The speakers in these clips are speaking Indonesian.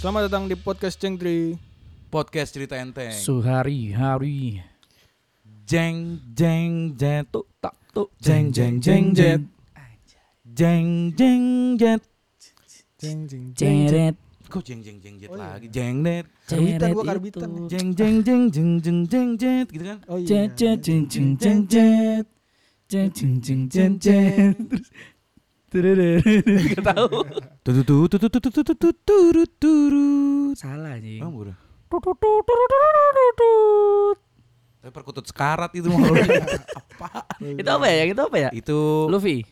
Selamat datang di podcast Cengtri. Podcast cerita enteng. Suhari hari jeng jeng jet tuk tak tuk jeng jeng jeng jet. Jeng jeng jet. Jeng jeng ceret Kok jeng jeng jeng jet Oh, iya. lagi? Jeng net. Karbitan, ceret gua karbitan. itu. Jeng jeng jeng jeng jeng jeng jet gitu kan. Oh iya. Cet cet ceng ceng ceng cet. Ceng ceng ceng ceng cet. Terus tererere. Nggak tahu. Tu tu tu tu tu tu tu tu tu tu tu tu tu. Salah anjing. Ah, bodoh. Tut, tut, tut, tut, tut, tut, tut, tut. Tapi perkutut sekarat itu mau Itu apa ya? Itu apa ya? Itu Luffy.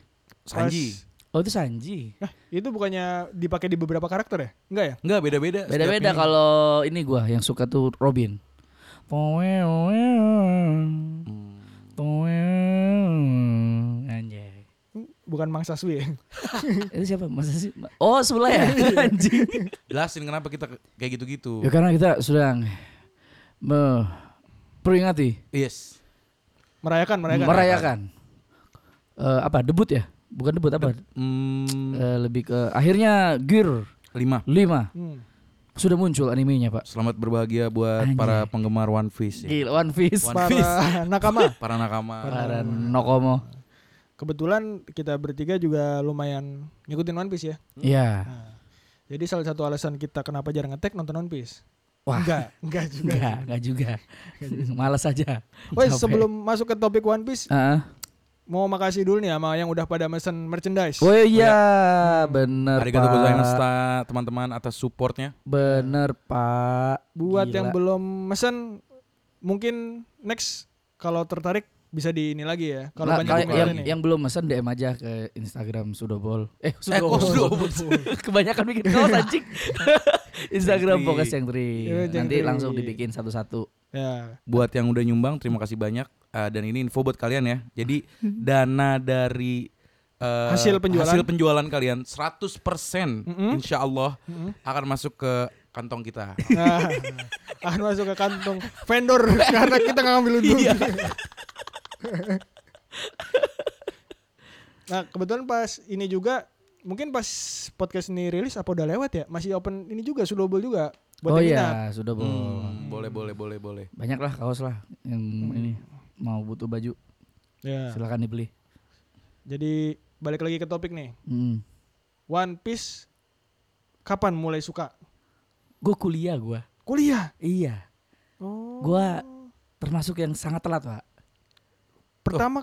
Sanji. Oh itu Sanji. Itu bukannya dipakai di beberapa karakter ya? Enggak ya? Enggak beda-beda. setiap Beda-beda ini. kalau ini gua yang suka tuh Robin. Hmm. Anjay. Bukan Mangsa Sui ya? Itu siapa? Masa sih? Oh, sebelah ya? Anjing. Jelasin kenapa kita ke- kayak gitu-gitu. Ya karena kita sedang memperingati, Yes. Merayakan, merayakan. merayakan Eh, apa debut ya? Bukan debut apa? Hmm, Eh, lebih ke akhirnya Gear lima. 5 Hmm. sudah muncul animenya, Pak. Selamat berbahagia buat Anjay. para penggemar One Piece. ya. Gila, One Piece. One- Para nakama. Para nakama. Para Nokomo. Kebetulan kita bertiga juga lumayan ngikutin One Piece ya. Iya. Nah, jadi salah satu alasan kita kenapa jarang ngetek nonton One Piece. Wah, Enggak, enggak juga. Ah. enggak, enggak juga. Males aja. Woi, Capek. sebelum masuk ke topik One Piece, Heeh. mau makasih dulu nih sama yang udah pada mesen merchandise. Oh iya, bener Arigato Pak. gozaimasu ta- gitu, teman-teman atas supportnya. Bener Pak. Buat Gila. yang belum mesen mungkin next kalau tertarik bisa di ini lagi ya. Kalau Nah, banyak kalau yang yang, nih. yang belum mesen DM aja ke Instagram Sudobol. Eh, Eh, kok Sudobol? Kebanyakan bikin kaos anjing. Instagram Cengtri. Pokoknya Cengtri. Iya, Nanti Cengtri. langsung dibikin satu-satu. Ya. Buat yang udah nyumbang terima kasih banyak Eh, dan ini info buat kalian ya. Jadi dana dari eh, Hasil penjualan. hasil penjualan kalian 100% Mm-mm. insya Allah Mm-mm. akan masuk ke kantong kita. Nah, akan masuk ke kantong vendor karena kita nggak ngambil untung. Iya. nah, kebetulan pas ini juga mungkin pas podcast ini rilis apa udah lewat ya? Masih open ini juga Sudobol juga buat oh yang minat. iya, Sudobol. Hmm, boleh boleh boleh boleh. Banyak lah kaos lah yang Hmm. ini mau butuh baju Ya. silakan dibeli. Jadi balik lagi ke topik nih. Mm. One Piece kapan mulai suka? Gue kuliah gua. Kuliah. Iya. Oh. Gua termasuk yang sangat telat, Pak. pertama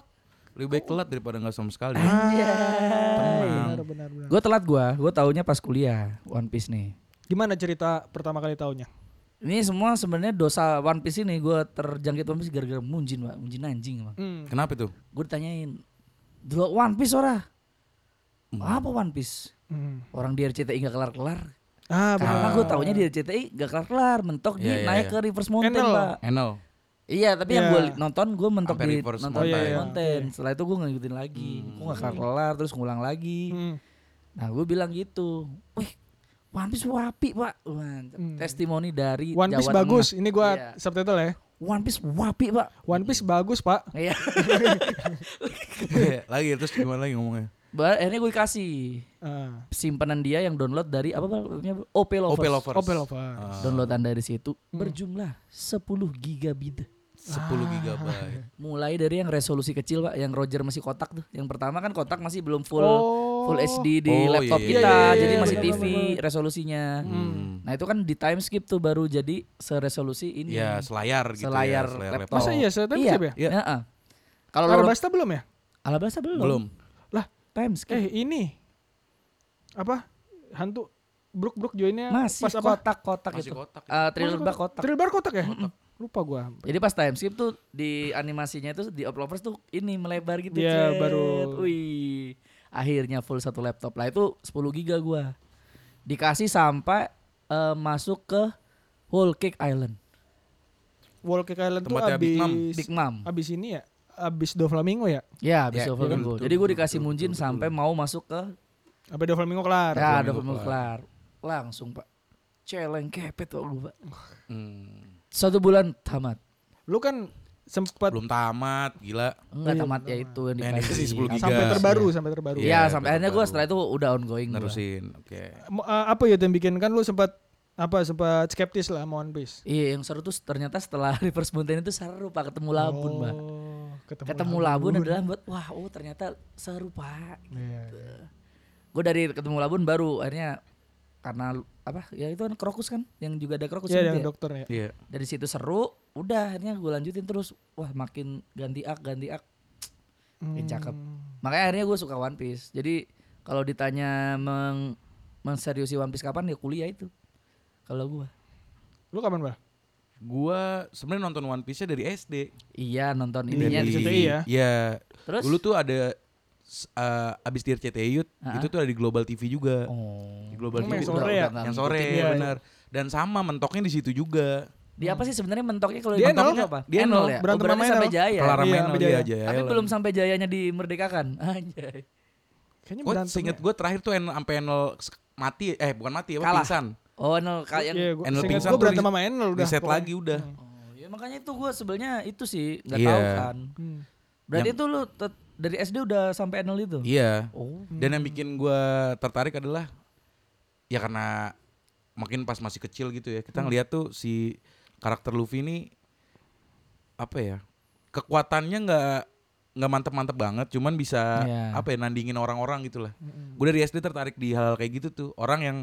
Lebih baik telat daripada nggak sama sekali. Ah. Iya. benar benar benar. Gue telat gua, gue taunya pas kuliah One Piece nih. Gimana cerita pertama kali tahunya? Ini semua sebenarnya dosa One Piece ini gue terjangkit One Piece gara-gara Munjin, Pak. Munjin anjing, Pak. Hmm. Kenapa itu? Gue ditanyain, "Dulu One Piece ora?" Apa One Piece? Hmm. Orang di RCTI gak kelar-kelar. Ah, benar. Karena gue taunya di RCTI gak kelar-kelar, mentok di Iya, iya, naik iya. ke Reverse Mountain, Enel. Pak. Enel. Iya, tapi yang Iya. gue nonton gue mentok Sampai di Reverse Hmm. nonton Mountain. Reverse Iya, iya. Mountain. Setelah itu gue gak ngikutin lagi. Gue gak kelar-kelar, terus ngulang lagi. Hmm. Nah, gue bilang gitu. Wih, One Piece wapi, Pak. Mantap. Hmm. Testimoni dari One Piece Jawa Tengah. bagus. Ini gua Iya. subtitle ya. One Piece wapi, Pak. One Piece bagus, Pak. Iya. lagi terus gimana lagi ngomongnya? Ba- akhirnya gue kasih Ah. simpanan dia yang download dari apa namanya OP Lovers. OP Lovers. Opel Lover. Ah, Downloadan dari situ Hmm. berjumlah 10 gigabit. 10 gigabyte. Mulai dari yang resolusi kecil pak, yang Roger masih kotak tuh. Yang pertama kan kotak masih belum full Oh. full HD di Oh, laptop iya, iya, kita, iya, iya, jadi iya, masih benar, TV resolusinya. Hmm. Nah itu kan di time skip tuh baru jadi seresolusi ini. Ya selayar gitu Selayar ya, laptop. Masa iya, setan iya. skip ya? Iya. Heeh. Kalau lo- Alabasta belum ya? Alabasta belum. Belum. Time skip. Eh, ini. Apa? Hantu Brook-brook joinnya masih pas apa? kotak-kotak Masih itu. kotak. Eh, Masih thriller bug kotak. Thriller bar kotak ya? Lupa gua. Jadi pas time skip tuh di animasinya itu di Uplovers tuh ini melebar gitu. Iya, cet. baru- Wih. Akhirnya full satu laptop lah itu 10 giga gua. Dikasih sampai eh, masuk ke Whole Cake Island. Wall Cake Island tuh Tempatnya Big Mom. abis, Big Mom. abis ini ya? Abis Doflamingo ya? Ya, Ya, bisa full iya, gua. betul, Jadi gua betul, dikasih betul, Munjin betul, sampai mau masuk ke Abis Doflamingo kelar. ya, ada Doflamingo kelar. Langsung, Pak. Celeng kepet Pak gua, Pak. Hmm. Satu bulan tamat. Lu kan sempat Belum tamat, gila. Enggak iya, tamat ya belum itu yang Yang dikasih dikasih. 10 giga. sampai Iya. terbaru, sampai terbaru. Iya, Iya, sampai sampai akhirnya gua terbaru. Iya. setelah itu udah ongoing. gua. Nerusin. Oke. Mo- eh, apa ya yang bikin kan lu sempat Apa sempat skeptis lah sama One Piece. Iya, yang seru tuh ternyata setelah Reverse Mountain itu seru Pak ketemu Labun, Pak. Oh, Ketemu, Ketemu Labun adalah buat wah, oh ternyata seru, Pak. Iya. Gue dari ketemu Labun baru akhirnya karena lu- apa? Ya itu kan Krokus kan yang juga ada Krokus Iya, gitu yang ya. dokternya. Iya. Dari situ seru, udah akhirnya gue lanjutin terus. Wah, makin ganti ak, ganti ak. Makin Hmm. cakep. Makanya akhirnya gue suka One Piece. Jadi kalau ditanya meng menseriusi One Piece kapan ya kuliah itu. Kalau gua. Lu kapan, Bang? Gua sebenarnya nonton One Piece-nya dari SD. Iya nonton Dari- ininya di situ. Iya. RCTI ya? terus. Dulu tuh ada s- eh, abis di RCTI Youth, Ah. itu tuh ada di Global TV juga. Oh. Di Global Yang TV. sore ya? nggak yang sore ngikutin. Iya, iya. benar. Dan sama mentoknya di situ juga. Hmm. Dia apa sih sebenarnya mentoknya kalau Dia mentoknya nol. apa? Dia Enol nol. ya. Berantem oh, berarti sama sampai Enol. jaya. Kelar Iya, Rameno sama dia Jaya. aja. Tapi belum sampai jayanya dimerdekakan. Anjay. Kayaknya Oh, berantem. ya. seinget gue terakhir tuh en- sampai Enol s- mati eh bukan mati apa Kalah. pingsan. Oh, Enol kayak yang Iya, gua Enel seingat pingsan gua tuh berantem di- sama Enel udah. Reset pokoknya. Hmm. lagi udah. Oh, ya makanya itu gua sebenarnya itu sih nggak Iya. tahu kan. Hmm. Berarti itu lu tet- dari SD udah sampai Enol itu. Iya. Oh. Dan yang bikin gue tertarik adalah ya karena makin pas masih kecil gitu ya Hmm. kita ngeliat tuh si karakter Luffy ini apa ya kekuatannya nggak nggak mantep-mantep banget, cuman bisa Iya. apa ya nandingin orang-orang gitulah. Hmm. Gue dari SD tertarik di hal kayak gitu tuh orang yang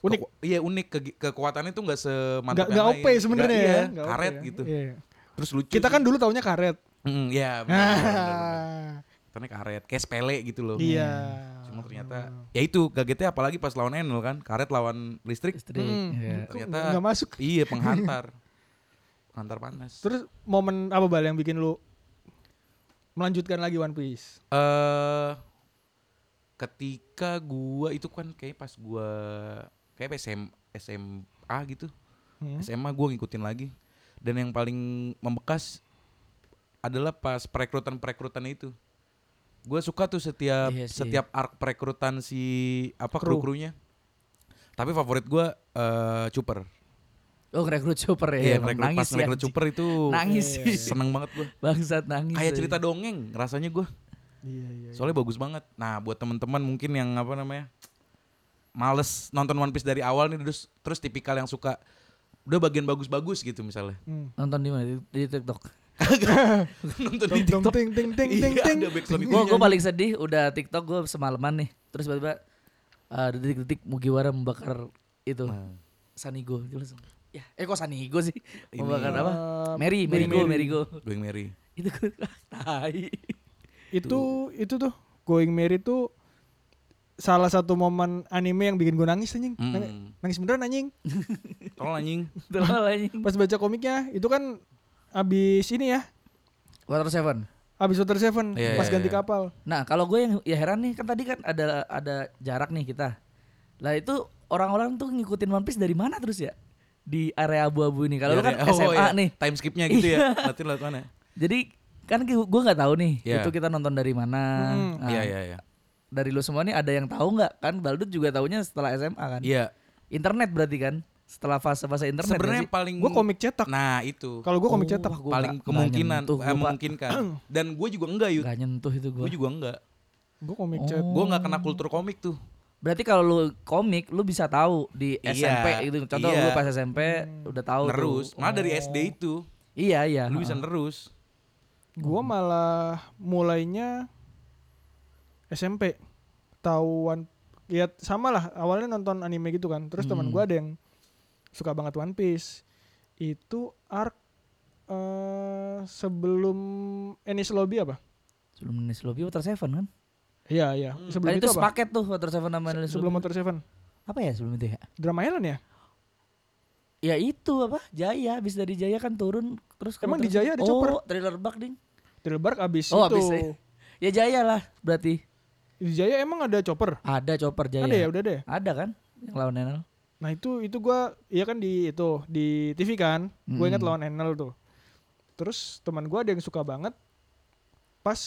Unik. keku- iya unik Ke- kekuatannya tuh nggak semantap Nggak nggak yang OP lain. Nggak- sebenarnya iya, ya. Nggak OP karet ya. gitu. Iya. Terus lucu. Kita kan dulu taunya karet. Hmm, iya. bener, bener, bener. Ternyata karet, kayak sepele gitu loh. Iya. Cuma ternyata ya itu kagetnya apalagi pas lawan Enel kan, karet lawan listrik. Istri. Hmm. Iya. Kok Ternyata nggak masuk. Iya, penghantar. penghantar panas. Eh Terus momen apa Bal yang bikin lu melanjutkan lagi One Piece? Eh, ketika gua itu kan kayak pas gua kayak SM, SMA gitu. Hmm. SMA gua ngikutin lagi. Dan yang paling membekas adalah pas perekrutan-perekrutan itu. Gue suka tuh setiap Iya sih. setiap arc perekrutan si apa Kru. kru-krunya. Tapi favorit gua eh Cooper. Oh, rekrut super ya. Iya, Emang ngerekrut pas nangis ya. ngerekrut super itu Nangis Iya, sih. seneng banget gue. Bangsat nangis. Kayak ya. cerita dongeng rasanya gue. Iya iya. Soalnya bagus banget. Nah, buat teman-teman mungkin yang apa namanya males nonton One Piece dari awal nih terus terus tipikal yang suka udah bagian bagus-bagus gitu misalnya. Hmm. nonton di mana? Di, di TikTok. nonton di Dong dong ting ting ting Iya, ting ting. ada backsound itu. Gue gue paling sedih udah TikTok gue semalaman nih. Terus tiba-tiba uh, detik-detik Mugiwara membakar itu Nah. Sanigo Dia langsung. Ya, eh kok Sanigo sih? Ini. Membakar apa? Eh, Mary, Merigo, Merigo. Going Merry. Itu gue tai. Itu itu tuh Going Merry tuh salah satu momen anime yang bikin gue nangis anjing. Nangis, Mm. nangis beneran anjing. Tolong anjing. Tolol anjing. Pas baca komiknya itu kan abis ini ya, Water Seven. abis Water Seven, Iya, pas iya, ganti iya. kapal. Nah, kalau gue yang ya heran nih kan tadi kan ada ada jarak nih kita. Lah itu orang-orang tuh ngikutin One Piece dari mana terus ya? Di area abu-abu ini. Kalau lu kan Dari- oh, SMA iya. nih. Time skipnya gitu ya. Iya. Latin lewat mana? Jadi kan gue nggak tahu nih Iya. itu kita nonton dari mana. Hmm. Nah, Iya, iya, iya. Dari lu semua nih ada yang tahu nggak kan? Baldut juga taunya setelah SMA kan? Iya. Internet berarti kan? Setelah fase-fase internet. nggak Sebenarnya sih? paling Gue komik cetak. Nah, itu. Kalau gue komik Oh, cetak. gua paling nggak- nggak kemungkinan eh, nyentuh gua, Pak. memungkinkan. Dan gue juga enggak, Yud. Nggak nyentuh itu gue. Gue juga enggak. Gue komik Oh. cetak. Gue nggak kena kultur komik tuh. Berarti kalau lu komik lu bisa tahu di Iya, SMP gitu. Contoh iya. lu pas SMP Hmm. udah tahu tuh. Oh. Nerus. Malah dari SD itu. Iya iya. Lu bisa Heeh. nerus. Gue malah mulainya SMP. Tahu One ya sama lah awalnya nonton anime gitu kan. Terus teman gue ada yang suka banget One Piece. Itu arc eh, sebelum Enies Lobby apa? Sebelum Nice Lobby Water Seven kan? Iya iya. Sebelum Kan itu, itu, apa? sepaket tuh Water Seven sama Nice Sebelum Lobby. Motor Seven. Apa ya sebelum itu ya? Drama Island ya? Ya itu apa? Jaya habis dari Jaya kan turun terus ke Emang Water di Jaya Seven. ada oh, chopper? trailer bug ding. Thriller Bark abis Oh, itu. abis ya. Ya Jaya lah berarti. Di Jaya emang ada chopper? Ada chopper Jaya. Ada ya udah deh. Ada kan? Yang lawan Enel. Nah itu itu gua iya kan di itu di TV kan, gue ingat lawan Enel tuh. Terus teman gua ada yang suka banget pas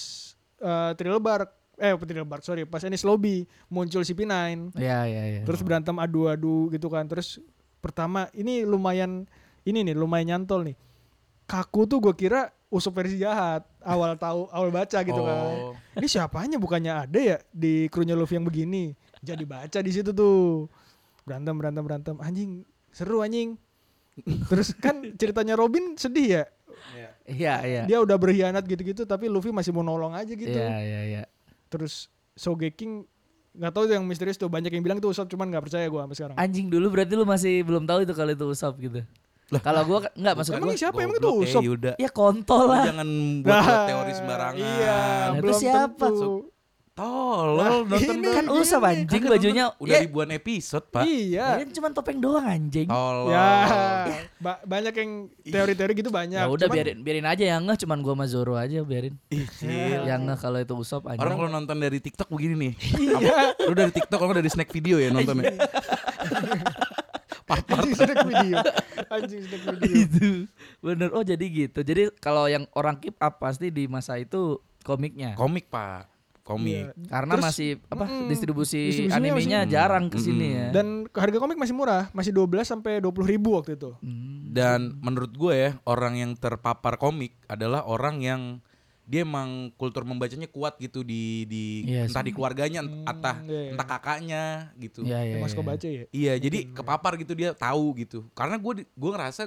eh Thriller Bark, eh Thriller Bark sorry, pas Enies Lobby muncul CP9, Ya ya ya. terus berantem adu-adu gitu kan. Terus pertama ini lumayan ini nih lumayan nyantol nih. Kaku tuh gue kira usup versi jahat awal tahu awal baca gitu Oh. kan. Ini siapanya bukannya ada ya di krunya Luffy yang begini. Jadi baca di situ tuh. berantem berantem berantem anjing seru anjing terus kan ceritanya Robin sedih ya Iya, iya. dia udah berkhianat gitu-gitu tapi Luffy masih mau nolong aja gitu Iya, iya, iya. terus Sogeking nggak tahu tuh yang misterius tuh banyak yang bilang tuh Usopp cuman nggak percaya gua sampai sekarang Anjing dulu berarti lu masih belum tahu itu kalau itu usap gitu. Kalau gua enggak maksud Emang gua. siapa? Emang itu Goblok, eh, Usopp? Yuda. Ya Lu kontol lah. jangan buat Nah, teori sembarangan. iya Nah, itu belum siapa? tentu Tolol nonton ini dong. Kan usap anjing Kagak bajunya. nonton. udah Ya, ribuan episode, Pak. iya Ini cuma topeng doang anjing. Tolol. ya iya. ba- banyak yang teori-teori gitu banyak Ya udah Cuman biarin biarin aja yang ngeh cuman gua sama Zoro aja biarin. Ih, Cil. Yang ngeh kalau itu usap anjing. Iya. Orang kalau nonton dari TikTok begini nih. Apa? Lu dari TikTok kalau nggak dari snack video ya nontonnya. anjing snack video anjing snack Iya. video itu bener oh jadi gitu jadi kalau yang orang keep up pasti di masa itu komiknya Komik, Pak. Komik. Iya. karena Terus, masih apa Hmm, mm-mm, distribusi distribusinya animenya masih- jarang ke sini Mm-mm. ya dan harga komik masih murah masih 12 sampai 20 ribu waktu itu Hmm. Dan menurut gue ya, orang yang terpapar komik adalah orang yang dia emang kultur membacanya kuat gitu di di Iya entah di keluarganya, entah iya, iya. entah kakaknya gitu. ya, ya, Mas ya. Kobace ya Iya, jadi kepapar gitu dia tahu gitu. Karena gue gue ngerasa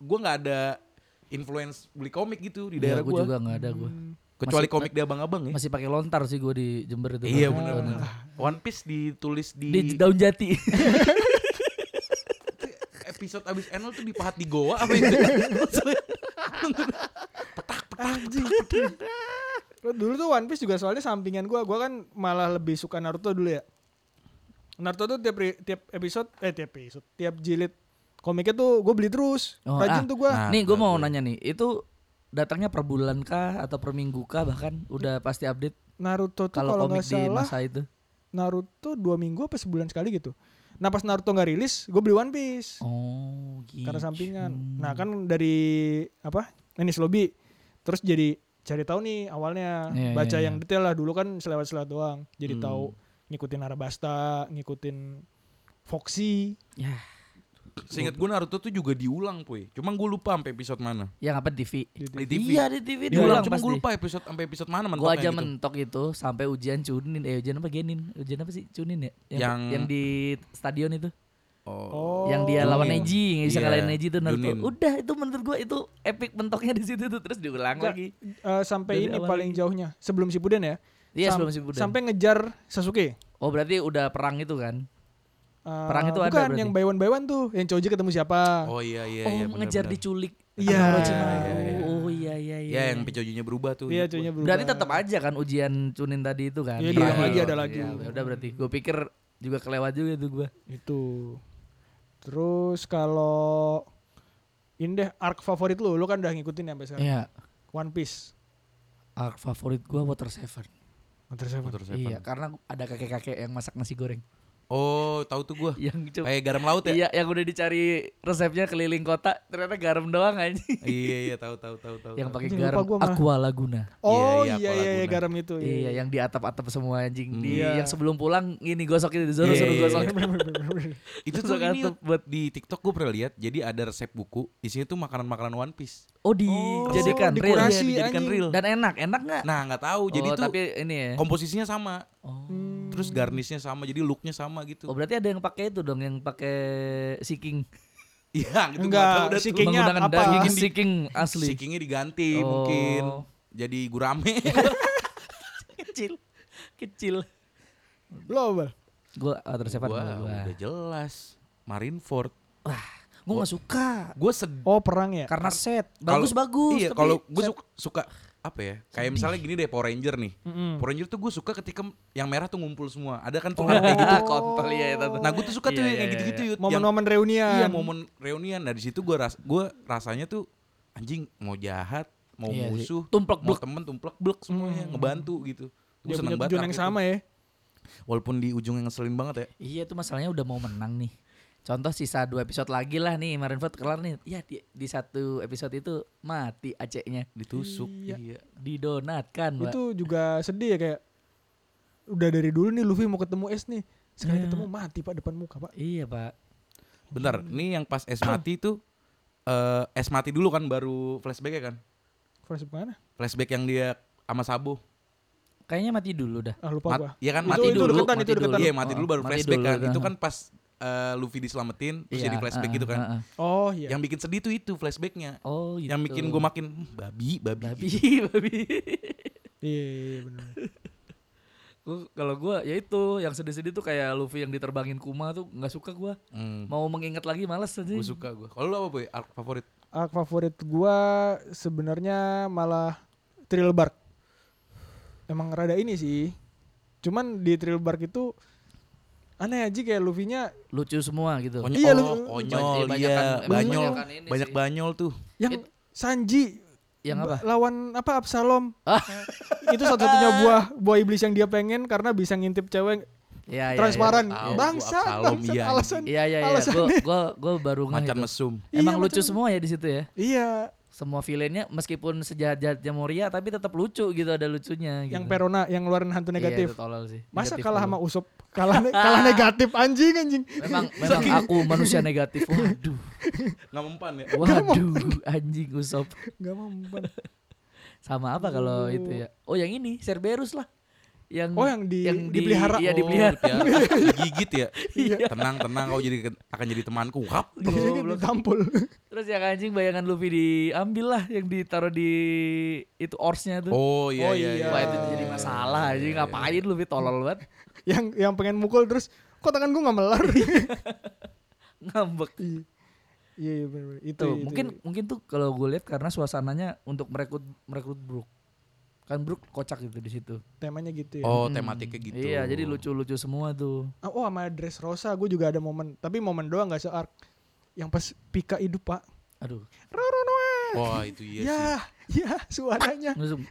gue nggak ada influence beli komik gitu di Iya, daerah gua gue. juga nggak ada gue Kecuali Masih- komik dia abang-abang ya. masih pakai lontar sih gue di Jember itu Iya Pakai benar. lontar. One Piece ditulis di, di daun jati episode abis Enel tuh dipahat di goa apa itu? anjing Lo Oh, dulu tuh One Piece juga soalnya sampingan gua gua kan malah lebih suka Naruto dulu ya Naruto tuh tiap ri- tiap episode eh tiap episode tiap jilid komiknya tuh gue beli terus Oh, rajin ah, tuh gua nah. nih gue mau bagus. nanya nih itu datangnya per bulan kah atau per minggu kah bahkan udah pasti update Naruto tuh kalau kalau nggak komik di salah masa itu Naruto dua minggu apa sebulan sekali gitu nah pas Naruto nggak rilis gue beli One Piece oh gitu karena sampingan nah kan dari apa Nenis Lobby terus jadi cari tahu nih awalnya Iya, baca iya, Hmm. yang detail lah dulu kan selewat-selewat doang jadi tahu ngikutin Arabasta ngikutin Foxy ya Seingat gue Naruto tuh juga diulang puy. Cuma gue lupa sampai episode mana. yang ya apa TV Di gitu. TV. Iya di TV diulang. diulang Cuma gue pasti. lupa episode sampai episode mana Gua mentoknya aja gitu. mentok itu sampai ujian cunin, eh ujian apa genin? Ujian apa sih cunin ya? Yang- yang di stadion itu, Oh. oh yang dia Chunin. lawan Neji, yang bisa Iya, ngalahin Neji itu Naruto. Chunin. Udah itu menurut gua itu epic mentoknya di situ tuh terus diulang Enggak. lagi. eh, sampai Dari ini awal paling lagi. jauhnya sebelum Shippuden ya Iya Sam- sebelum Shippuden. sampai ngejar Sasuke Oh berarti udah perang itu kan? Eh, Perang itu ada bukan berarti. yang by one by one tuh yang Choji ketemu siapa Oh iya iya oh iya. ngejar benar-benar. diculik. Iya, sama iya, Orochimaru. iya, iya. Oh iya iya iya. Ya yang pejojunya berubah tuh. iya ingat Chojinya gua. berubah Berarti tetap aja kan ujian cunin tadi itu kan? Iya, diulang Terakhir. lagi, ada lagi. Iya, udah berarti gue pikir juga kelewat juga tuh gua. itu terus kalau ini deh arc favorit lu lu kan udah ngikutin ya sampai sekarang Iya. One Piece Arc Iya, favorit gua Water Seven. Water Seven. Terus apa? Iya, karena ada kakek-kakek yang masak nasi goreng. Oh tahu tuh gue. Yang coba Kayak garam laut ya. Iya, yang udah dicari resepnya keliling kota, ternyata garam doang aja. Iya iya tahu tahu tahu tahu. yang tahu. pakai Anjing, garam lupa gua malah. Aqua Laguna. Oh iya iya, Iya, iya, iya, Aqualaguna. garam itu. Iya, yang di atap-atap semua anjing. Di Iya. yang sebelum pulang ini gosokin itu Zoro Iya, suruh iya, gosok. iya. Itu tuh Suka ini tuh buat di TikTok gue pernah lihat. Jadi ada resep buku. Isinya tuh makanan-makanan One Piece. Oh, Oh, dijadikan real. dikurasi, Iya, dijadikan anjing. real. Dan enak, enak nggak? Nah nggak tahu. Jadi oh, tuh tapi ini ya. komposisinya sama. Oh. Terus garnishnya sama. Jadi looknya sama Oh, gitu. berarti ada yang pakai itu dong, yang pakai Seeking. Iya gitu. Enggak, Enggak. Udah si tuh. King- Seeking-nya Menggunakan apa? daging Seeking- Seeking asli. Seekingnya diganti Oh. mungkin. Jadi gurame. Kecil. Kecil. Lo apa? Gua Water Seven Gua gua. Gua, udah jelas. Marineford. gua nggak suka. Gue sedih. Oh perang ya. Karena set Kalau- bagus-bagus. Iya, tapi kalau gue suka, suka apa ya? Kayak misalnya gini deh Power Ranger nih. Mm-mm. Power Ranger tuh gue suka ketika m- yang merah tuh ngumpul semua. Ada kan tuh Hmm. Oh, kayak gitu. gitu kontol ya itu. Nah, gue tuh suka tuh Iya, yang iya, kayak gitu-gitu Yud. Yang- Momen-momen reunian. Iya, momen reunian. Nah, di situ gue ras gua rasanya tuh anjing mau jahat, mau Iya sih. musuh, Tumplek mau blek. temen tumplek blek semuanya ngebantu gitu. Gue Dia Iya, punya seneng banget. tujuan yang akhirnya sama tuh. ya. Walaupun di ujungnya ngeselin banget ya. Iya tuh masalahnya udah mau menang nih. Contoh sisa dua episode lagi lah nih Marineford kelar nih. Ya di, di satu episode itu mati AC-nya. Ditusuk. Iya. Iya. Didonatkan, Mbak. Itu juga sedih ya kayak udah dari dulu nih Luffy mau ketemu S nih. Iya. Sekali ketemu mati Pak depan muka, Pak. Iya, Pak. Bentar, ini yang pas es mati tuh eh es mati dulu kan baru flashback ya kan? Flashback mana? Flashback yang dia sama Sabo. Kayaknya mati dulu dah. Ah lupa Mat- gua. Iya kan Itu- mati itu dulu. deketan, itu deketan. Iya mati Oh, dulu baru mati flashback dulu, kan. Itu nah. kan pas eh, Luffy diselamatin Iya, terus Iya, jadi flashback heeh, gitu kan. heeh. Oh iya. Yang bikin sedih tuh itu flashbacknya. ah, Oh gitu. Yang bikin gue makin "Hmm, babi, babi. babi babi. Iya, iya, iya, bener. Gua- kalau gua ya itu yang sedih-sedih tuh kayak Luffy yang diterbangin Kuma tuh nggak suka gua. Hmm, Mau mengingat lagi males aja. gue suka gue. Kalau lu apa boy? Arc favorit? Arc favorit gua sebenarnya malah Thrill Bark. Emang rada ini sih. Cuman di Thrill Bark itu aneh aja kayak Luffy-nya Lucu semua gitu. Konyol, Iya, lu- oh, konyol, Banyak- iya, banyakan- banyol, banyakan ini banyak sih. banyol tuh. yang It- Sanji yang apa? ba- lawan apa Absalom. Ah. itu satu-satunya buah buah iblis yang dia pengen karena bisa ngintip cewek Ya, ya, transparan. Tahu gua Bangsa, Absalom, bangsa iya, alasan. Iya iya iya. Alasannya. Gua gua gua baru ngeh Macan itu. mesum. Iya, Emang lucu macam- semua ya di situ ya. Iya, Semua villainnya meskipun sejahat-jahatnya Moria tapi tetap lucu gitu ada lucunya. Gitu. yang Perona yang ngeluarin hantu Iya, negatif. itu tolol sih. Masa Negatif kalah tolol. sama Usop? Kalah ne- kalah negatif anjing anjing. Memang memang aku manusia negatif. Waduh. Nggak mempan ya. Waduh, anjing Usop. Gak mempan. Sama apa kalau itu ya? Oh, yang ini Cerberus lah. Yang Oh, yang di- dipelihara. Iya, Oh, dipelihara. dipelihara. Digigit ya. Iya. Tenang, tenang. Kau jadi akan jadi temanku. Hap. Dia Goblok. ditampol. Terus yang anjing bayangan Luffy diambil lah yang ditaruh di itu orsnya tuh. Oh iya Oh, iya. iya. Wah, itu jadi masalah anjing. Ngapain Luffy tolol banget? yang yang pengen mukul terus kok tangan gue nggak melar. Iya. Ngambek. Iya iya iya, bener, bener. itu, Tuh, itu. mungkin mungkin tuh kalau gue lihat karena suasananya untuk merekrut merekrut Brook. Kan Brook kocak gitu di situ. temanya gitu ya. Oh. Oh Hmm. tematiknya gitu. Iya, jadi lucu-lucu semua tuh. oh sama dress Rosa gue juga ada momen tapi momen doang nggak seark. Yang pas Pika hidup pak. Aduh. Roro Noa. Wah itu iya ya sih. ya suaranya. Langsung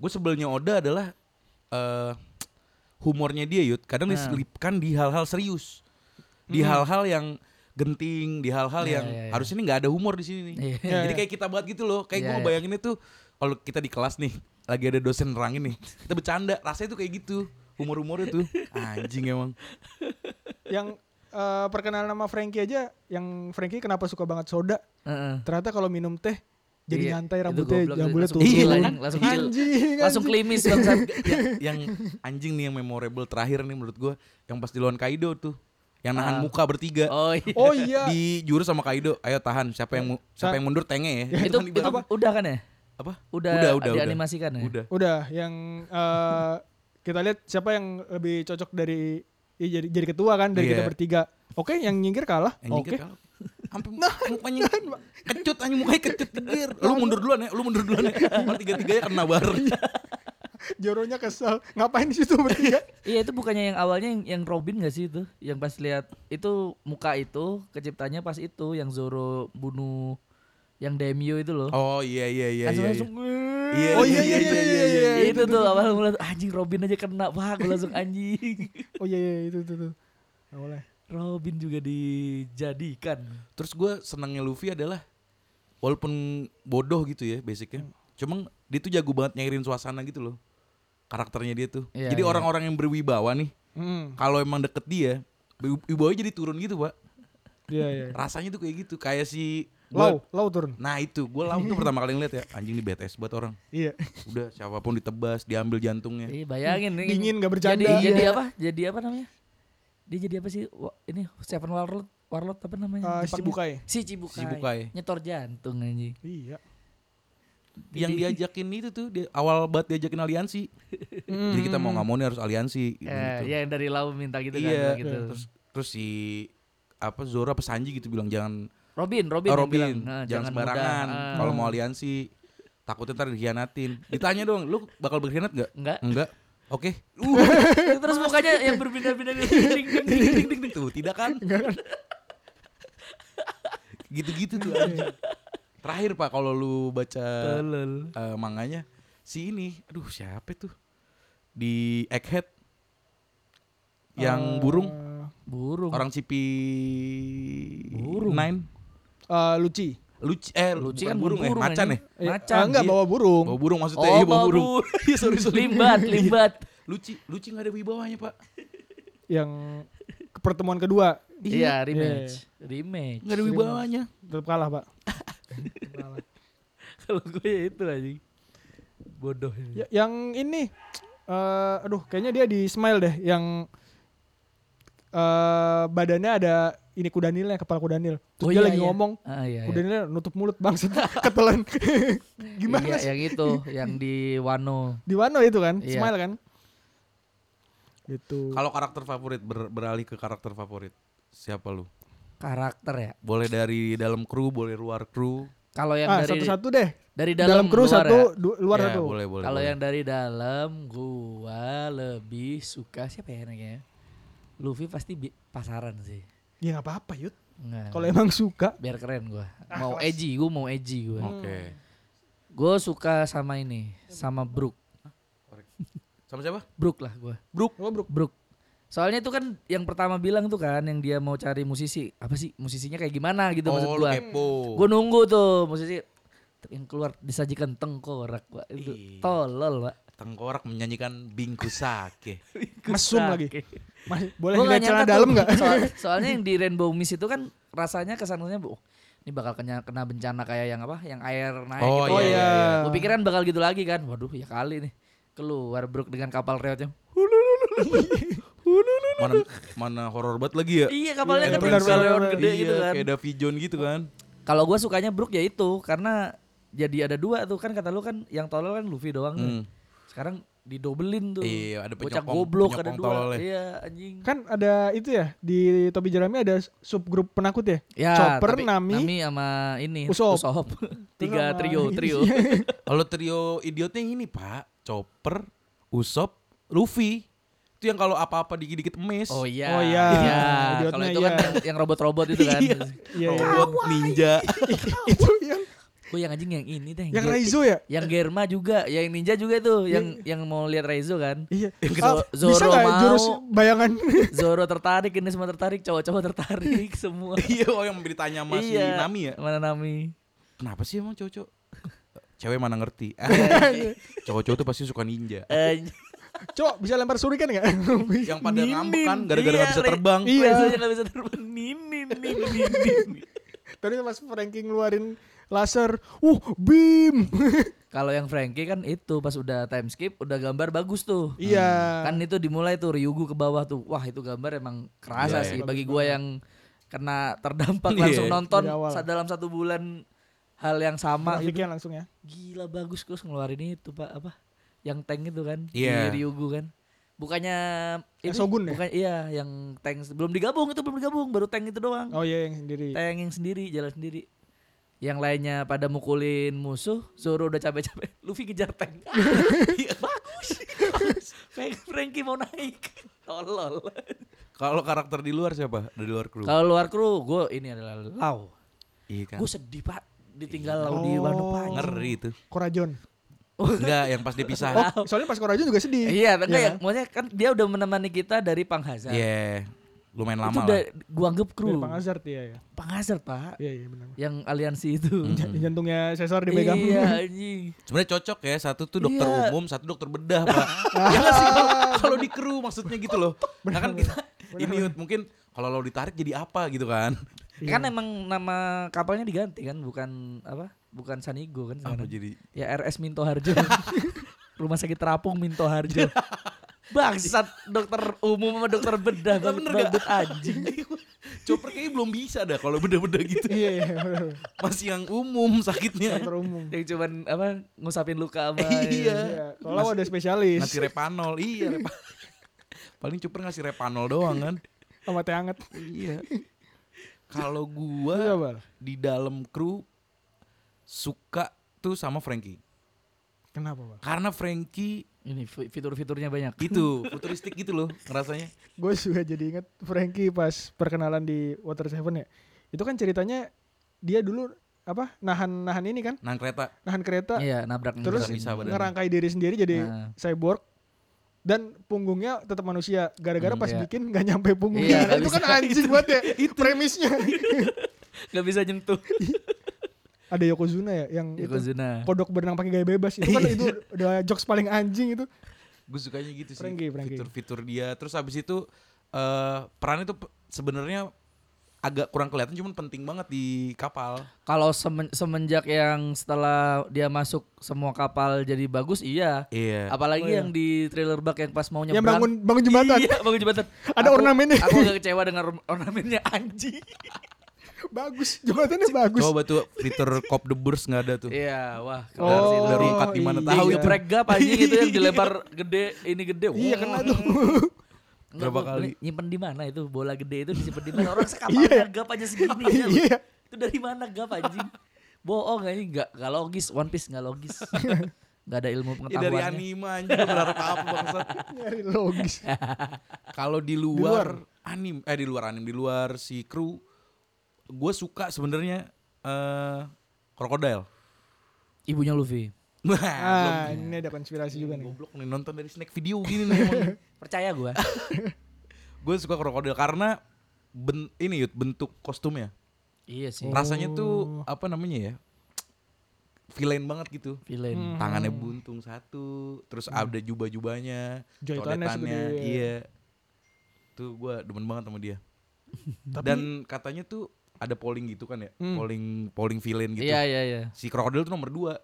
Gue sebelnya Oda adalah eh humornya dia yud. Kadang Nah. Hmm. diselipkan di hal-hal serius, di hal-hal yang genting, di hal-hal Iya, yang iya, iya. harusnya ini nggak ada humor di sini nih. Iya. Iya, Jadi iya. kayak kita buat gitu loh. Kayak Iya, gue iya. bayangin itu kalau kita di kelas nih lagi ada dosen nerangin nih, kita bercanda. Rasanya tuh kayak gitu. Humor-humor itu anjing emang. yang eh, perkenalan nama Frankie aja yang Frankie kenapa suka banget soda? Heeh. Ternyata kalau minum teh jadi Iya, nyantai itu rambutnya goblok, jambulnya langsung turun. kecil, Anjing, langsung kecil. anjing. Langsung klimis Ya. bangsat. yang, yang anjing nih yang memorable terakhir nih menurut gua yang pas di lawan Kaido tuh yang nahan Ah. muka bertiga Oh iya. Oh iya. di jurus sama Kaido ayo tahan siapa yang mu- siapa yang mundur tenge ya itu, Tahan di itu bawah. udah kan ya? apa Udah, dianimasikan ya? udah Udah, yang eh, kita lihat siapa yang lebih cocok dari ya, jadi jadi ketua kan dari kita Iya. bertiga. Oke, yang nyingkir kalah. Oke. yang nyingkir kalau sampai mukanya kecut anjing mukanya kecut gedir lu mundur duluan ya lu mundur duluan ya Malah tiga-tiganya kena bareng Joronya kesel. Ngapain di situ bertiga? Iya itu bukannya yang awalnya yang, yang Robin gak sih itu? Yang pas lihat itu muka itu keciptanya pas itu yang Zoro bunuh yang Daimyo itu loh. oh iya iya iya Langsung- iya iya. langsung, Gitu. Iya, Oh iya iya iya iya. iya, itu, tuh awal mulai anjing Robin aja kena. Wah, gue langsung anjing. Oh iya iya itu itu tuh. Nggak boleh. Robin juga dijadikan. Terus gue senangnya Luffy adalah walaupun bodoh gitu ya basicnya, cuman dia tuh jago banget nyairin suasana gitu loh karakternya dia tuh. Iya, Jadi iya. orang-orang yang berwibawa nih, Hmm. kalau emang deket dia, wi- wibawanya jadi turun gitu pak. Iya iya. Rasanya tuh kayak gitu, kayak si Lau, gua- lau turun. Nah itu, gue lau tuh pertama kali ngeliat ya, anjing di BTS buat orang. Iya. Udah siapapun ditebas, diambil jantungnya. Eh, bayangin nih. Dingin, nggak bercanda. Jadi, jadi Iya. apa? Jadi apa namanya? Dia jadi apa sih? Wa- ini Seven Warlord Warlord apa namanya? Eh, Jepangnya? Shibukai. Si Cibukai. Shibukai. Nyetor jantung anjing. Iya. Yang diajakin itu tuh, dia, awal banget diajakin aliansi. Jadi kita mau nggak mau nih harus aliansi. Hmm. Eh, gitu. ya yang dari Lau minta gitu kan iya. bilang gitu. Terus terus si apa Zora pesanji gitu bilang jangan Robin, Robin, oh, yang Robin, bilang, "Nah, jangan, sembarangan mudah." Ah, kalau mau aliansi takutnya ntar dikhianatin. Ditanya dong, lu bakal berkhianat nggak? Enggak. Enggak. Oke. Terus mukanya yang berbeda-beda ding, ding, ding, ding, ding, ding, ding. Tuh, tidak kan? Gitu-gitu tuh anjing. Terakhir Pak kalau lu baca Tolol. eh, manganya si ini, aduh siapa tuh? Di Egghead yang burung Eh, Burung. orang Cipi Burung. Nine Eh, Luci. Luci eh Lucu bukan kan burung, burung ya, macan ya. anjing. Eh, Macan, eh, enggak iya. bawa burung. Bawa burung maksudnya Oh, iya, bawa bawa burung. burung. Iya, sorry, sorry. Limbat, limbat. Luci, Luci gak ada wibawanya, Pak. Yang ke pertemuan kedua Iya, rematch. Rematch. Gak ada wibawanya. tetap kalah, Pak. Tetap kalah. Kalau gue ya itu anjing. Bodoh ini. Ya, yang ini eh aduh kayaknya dia di Smile deh yang eh, badannya ada ini kudanilnya kepala kudanil terus Oh dia iya, lagi iya. ngomong Ah, iya, iya. kudanilnya nutup mulut bangsat ketelan gimana Iya, sih? yang itu, yang di Wano. di Wano itu kan Iya. smile kan gitu Kalau karakter favorit ber- beralih ke karakter favorit siapa lu? Karakter ya. Boleh dari dalam kru, boleh luar kru. Kalau yang ah dari satu-satu deh dari dalam, dalam, kru luar satu ya. du- luar Ya, satu Boleh, boleh. Kalau boleh. yang dari dalam gua lebih suka siapa ya enaknya? Luffy pasti bi- pasaran sih. ya nggak apa-apa yud Nggak. kalau emang suka biar keren gua. Ah, Mau kelas. Hmm. edgy, gua mau edgy gua. Oke. Gue suka sama ini, sama Brook. Sama siapa? Brook lah gua. Brook. oh, bro Brook. Soalnya itu kan yang pertama bilang tuh kan yang dia mau cari musisi. Apa sih musisinya kayak gimana gitu maksud oh, lu gua. kepo. Gue nunggu tuh musisi yang keluar disajikan tengkorak, Pak. Itu Iya. tolol, Pak. Tengkorak menyanyikan Bingku Sake. mesum lagi Mas- boleh Gua lihat nggak celana nyangka dalam tuh. nggak Soal- soalnya yang di Rainbow Mist itu kan rasanya kesannya bu, oh, ini bakal kena kena bencana kayak yang apa? Yang air naik Oh, gitu. oh iya, iya iya. Gue pikiran bakal gitu lagi kan. Waduh, ya kali nih. Keluar Brook dengan kapal reotnya. mana mana horor banget lagi ya? Iya, kapalnya Iya, kan benar, bencana benar, reot benar. gede Iya, gitu kan. Kayak Davy John gitu kan. Kalau gue sukanya Brook ya itu karena jadi ada dua tuh kan kata lu kan yang tolol kan Luffy doang nih. Hmm. Sekarang didobelin tuh. Iya, ada Bocah penyokong- goblok ada penyokong dua. tololnya. Iya, anjing. kan ada itu ya di topi jerami ada subgrup penakut ya, Ya, chopper tapi nami, Nami sama ini Usop. Tiga sama- trio, trio. Iya, Kalau trio idiotnya yang ini, Pak. Chopper, Usop, Luffy. Itu yang kalau apa-apa dikit-dikit emes. Oh iya. Oh iya, Iya, idiotnya Kalau itu kan iya. yang, yang robot-robot itu kan. Iya. iya iya. Robot ninja. itu yang Gue Oh, yang anjing yang ini deh. yang Ge- Raizo Iya. ya Yang Germa juga, yang ninja juga tuh, yang yang mau lihat Raizo kan. Iya. Ah, kedua, bisa Zoro nggak mau. jurus bayangan? Zoro tertarik, ini semua tertarik, cowok-cowok tertarik semua. Iya, oh yang ditanya sama si Iya. Nami ya. Mana Nami? Kenapa sih emang cowok-cowok? Cewek mana ngerti? Iya, Cowok-cowok tuh pasti suka ninja. Eh, Cok, bisa lempar surikan nggak? Bisa. Yang pada Ninin. ngambek kan gara-gara Iya, nggak bisa Re- terbang. Iya. Raizonya nggak bisa terbang. Ninin, ninin, ninin. Tadi Mas Frankie ngeluarin laser. Uh, beam. Kalau yang Frankie kan itu pas udah time skip udah gambar bagus tuh. Iya. Kan itu dimulai tuh Ryugu ke bawah tuh. Wah, itu gambar emang Iya, kerasa sih iya. bagi gua yang kena terdampak Iya. langsung nonton Dari awal. sa- dalam satu bulan hal yang Iya, sama gitu. Grafiknya langsung ya. Gila bagus terus ngeluarin itu Pak apa? Yang tank itu kan Iya. di Ryugu kan. Bukannya ini, Shogun ya? bukan iya yang tank belum digabung itu belum digabung baru tank itu doang. Oh iya yang sendiri. Tank yang sendiri jalan sendiri. Yang lainnya pada mukulin musuh, Zoro udah capek-capek, Luffy kejar tank. Iya, Bagus. Frank Frankie mau naik. Tolol. Kalau karakter di luar siapa? Dari luar kru. Kalau luar kru, gue ini adalah Lau. Iya kan. Oh. Gue sedih pak, ditinggal Lau Oh, di Wano Pak. Oh. Ngeri itu. Korajon. Enggak, yang pas dipisah. Oh, soalnya pas Korajon juga sedih. Iya, enggak Iya. ya. Maksudnya kan dia udah menemani kita dari Panghazard. Iya. Lumayan itu lama udah lah. gue anggap Dari kru. Bang Hazard iya ya. Panghazard pak, Iya iya benar. yang Hmm. aliansi itu. Di jantungnya sensor dipegang. Hmm. Iya, anjing. Sebenarnya cocok ya, satu tuh dokter Iya. umum, satu dokter bedah, Pak. ya nggak sih kalau, kalau di kru maksudnya gitu loh. Nah kan kita ini Yud, mungkin kalau lo ditarik jadi apa gitu kan. Kan emang nama kapalnya diganti kan, bukan apa? Bukan Sanigo Apa kan sekarang. jadi Ya RS Minto Harjo. Rumah sakit terapung Minto Harjo. Bangsat dokter umum sama dokter bedah Lah, bener bener banget gak? banget anjing. Chopper kayaknya belum bisa dah kalau beda-beda gitu. Iya iya. benar. Masih yang umum sakitnya. Dokter umum. Yang cuman apa ngusapin luka sama iya. Iya, kalau ada spesialis Ngasih repanol. Iya, repa- Paling Chopper ngasih repanol doang kan. sama teh anget. Iya. Kalau Iya, gua Bal. di dalam kru suka tuh sama Frankie. Kenapa, Bal? Karena Frankie ini fi- fitur-fiturnya banyak. itu futuristik gitu loh ngerasanya. gue juga jadi inget Frankie pas perkenalan di Water Seven ya itu kan ceritanya dia dulu apa nahan nahan ini kan Nang kereta. nahan kereta Iya, nabrak terus nggak bisa badannya. ngerangkai diri sendiri jadi Nah. cyborg dan punggungnya tetap manusia gara-gara Hmm, pas iya. bikin nggak nyampe Iya, punggungnya nggak itu kan bisa. anjing banget ya premisnya nggak bisa nyentuh. ada Yokozuna ya yang itu Iya, Yokozuna. Iya. kodok berenang pakai gaya bebas itu kan itu udah jokes paling anjing itu Gue sukanya gitu sih. Frankie, Frankie. Fitur-fitur dia. Terus habis itu eh perannya tuh pe- sebenarnya agak kurang kelihatan cuman penting banget di kapal. Kalau semen- semenjak yang setelah dia masuk semua kapal jadi bagus iya. Iya. Oh, Apalagi iya. yang di trailer bug yang pas mau nyebrang. Yang bangun bangun jembatan. Iya, bangun jembatan. Ada Aku- ornamennya. Aku agak kecewa dengan or- ornamennya anjing. bagus. Jembatannya bagus. Coba tuh fitur cop the burst nggak ada tuh. Iya, wah. Udah harus- Oh, udah rungkat di mana iya. tahu Tahu itu. Iya. geprek gap anjing itu gitu yang dilempar gede ini gede. Iya kena tuh. Enggak, Berapa gua kali? beli- Nyimpen di mana itu bola gede itu disimpan di mana? Orang Iya. sekapalnya gap aja segini ya. lu. Iya. Itu dari mana gap anjing? Bohong anjing enggak enggak logis. One Piece enggak logis. Enggak ada ilmu Ya dari pengetahuannya. anime anjing lu berharap apa bangsat. Nyari logis. Ah, Kalau di luar, anim eh di luar anim di luar si kru gue suka sebenarnya eh krokodil. Ibunya Luffy. Wah, Ah, ini ada konspirasi juga belum nih. goblok nih nonton dari snack video gini nih emang. Percaya gua. gue suka krokodil karena ben- ini Yud, bentuk kostumnya. iya sih. Rasanya tuh apa namanya ya? Villain banget gitu. Hmm. Villain. Tangannya buntung satu, terus ada jubah-jubahnya, Jahitannya Hmm. segede. iya. Tuh gue demen banget sama dia. Dan katanya tuh ada polling gitu kan ya, Hmm. polling polling villain gitu. Iya iya iya. Si krokodil tuh nomor dua.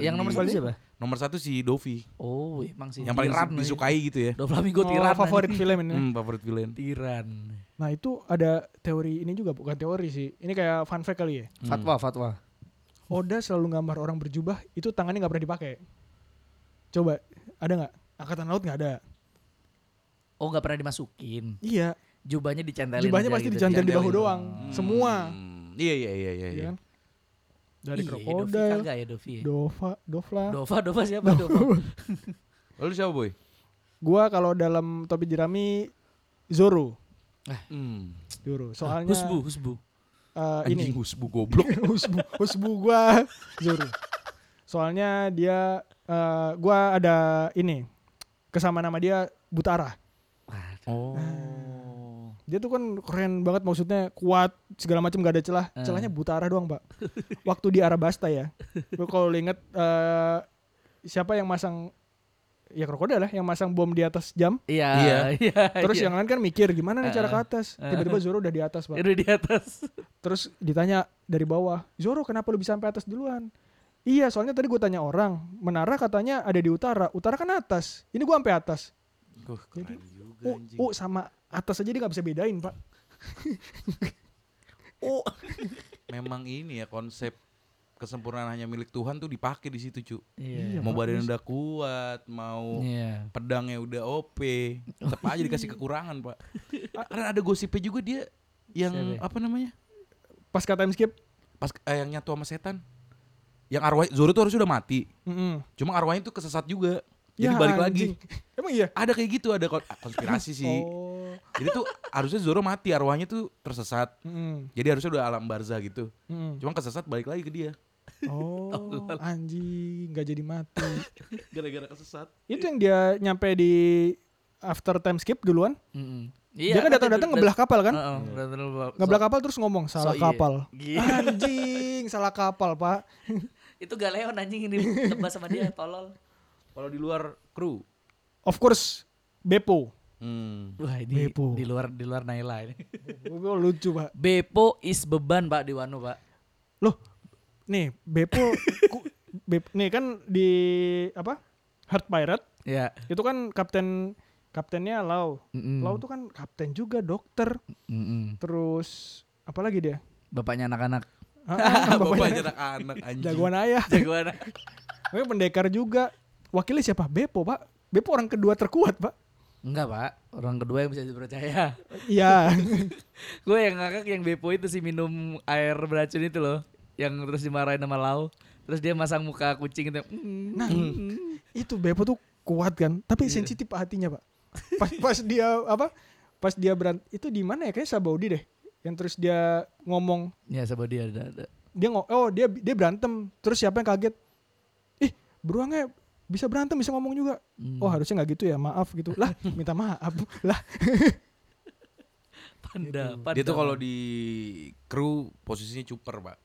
Yang nomor satu siapa? Nomor satu si Dovi, Oh, emang sih. yang paling tiran nih. disukai gitu ya. Doflamingo Oh, tiran. favorit film ini. Hmm, favorit villain. anjing. Tiran. Nah itu ada teori ini juga bukan teori sih. Ini kayak fun fact kali ya. Fatwa, fatwa. Oda selalu gambar orang berjubah itu tangannya nggak pernah dipakai. Coba ada nggak? Angkatan laut nggak ada. Oh, enggak pernah dimasukin. Iya. Jubahnya dicantelin. Jubahnya aja pasti gitu, dicantel di bahu dicantelin. doang. Semua. Hmm, iya iya iya iya. Iya iya. kan? Dari Iya, Dovi krokodil, kagak ya Dovi. ya? Dova, Dovla. Dova, Dova siapa Dova? Lalu siapa boy? Gua kalau dalam topi jerami Zoro. Hmm. Zoro. Soalnya Ah, Husbu, Husbu. eh, Anjing ini husbu goblok. Husbu, Husbu gua Zoro. Soalnya dia eh, gua ada ini kesamaan nama dia Butara. Oh. Dia tuh kan keren banget maksudnya kuat segala macam gak ada celah. Eh. Celahnya buta arah doang, Pak. Waktu di Arabasta ya. Lu kalau lu inget eh, siapa yang masang ya krokodil lah yang masang bom di atas jam. Iya, Iya. iya. Terus iya. yang lain kan mikir gimana nih cara Eh, ke atas. eh. Tiba-tiba Zoro udah di atas, Pak. Itu di atas. Terus ditanya dari bawah, "Zoro, kenapa lu bisa sampai atas duluan?" Iya, soalnya tadi gue tanya orang, menara katanya ada di utara. Utara kan atas. Ini gua sampai atas. Duh, Jadi, keren juga Oh, anjing. oh sama atas aja dia nggak bisa bedain, Pak. Oh, Memang ini ya konsep kesempurnaan hanya milik Tuhan tuh dipakai di situ, cu. Ya, iya. mau badan udah kuat, mau Iya. pedangnya udah OP, Oh, tetap aja iya. dikasih kekurangan, Pak. A- Karena ada gosipnya juga dia yang Siapa ya? apa namanya? Pas kata time skip, Pas eh, yang nyatu sama setan. Yang arwah Zoro tuh harus udah mati. mm Cuma arwahnya tuh kesesat juga. Jadi Ya, balik anjing. lagi. Emang iya? Ada kayak gitu, ada kon- konspirasi sih. Oh. Jadi tuh harusnya Zoro mati, arwahnya tuh tersesat. Mm-mm. Jadi harusnya udah alam barza gitu. Mm-mm. Cuma kesesat balik lagi ke dia. Oh, anjing, nggak jadi mati. Gara-gara kesesat. Itu yang dia nyampe di after time skip duluan. Mm-mm. dia Iya, kan datang-datang ngebelah kapal kan? Heeh, datang-datang Ngebelah kapal terus ngomong salah Ah, so iya." kapal. Gila. Anjing, salah kapal, Pak. Itu Galeo anjing ini tebas sama dia tolol. Kalau di luar kru. Of course, Beppo. Hmm. Wah, ini Bepo. di luar di luar Naila ini. Beppo lucu, Pak. Bepo is beban, Pak, di Wano, Pak. Loh, nih Beppo ku- Bep- nih kan di apa? Heart Pirate Iya. itu kan kapten kaptennya Lau. Mm-mm. Lau tuh kan kapten juga dokter. Mm-mm. Terus apalagi dia? Bapaknya anak-anak. Ah, ah, Bapaknya bapaknya anak-anak anjing. jagoan ayah. Jagoan. Tapi pendekar juga. Wakilnya siapa? Bepo, Pak. Bepo orang kedua terkuat, Pak. Enggak, Pak. Orang kedua yang bisa dipercaya. Iya. Gue yang ngakak yang Bepo itu sih minum air beracun itu loh Yang terus dimarahin sama Lau Terus dia masang muka kucing itu "Mm." Nah, itu Bepo tuh kuat kan, tapi sensitif hatinya, Pak. Pas pas dia apa? Pas dia berant itu di mana ya? Kayaknya Sabaudi deh. Yang terus dia ngomong, Ya sama dia ada, ada. dia ngo oh dia dia berantem. Terus siapa yang kaget? Ih, beruangnya bisa berantem, bisa ngomong juga. Oh, harusnya nggak gitu ya. Maaf gitu. Lah, minta maaf. Lah, Panda, Gitu. panda Dia tuh kalau di kru posisinya cuper, Pak.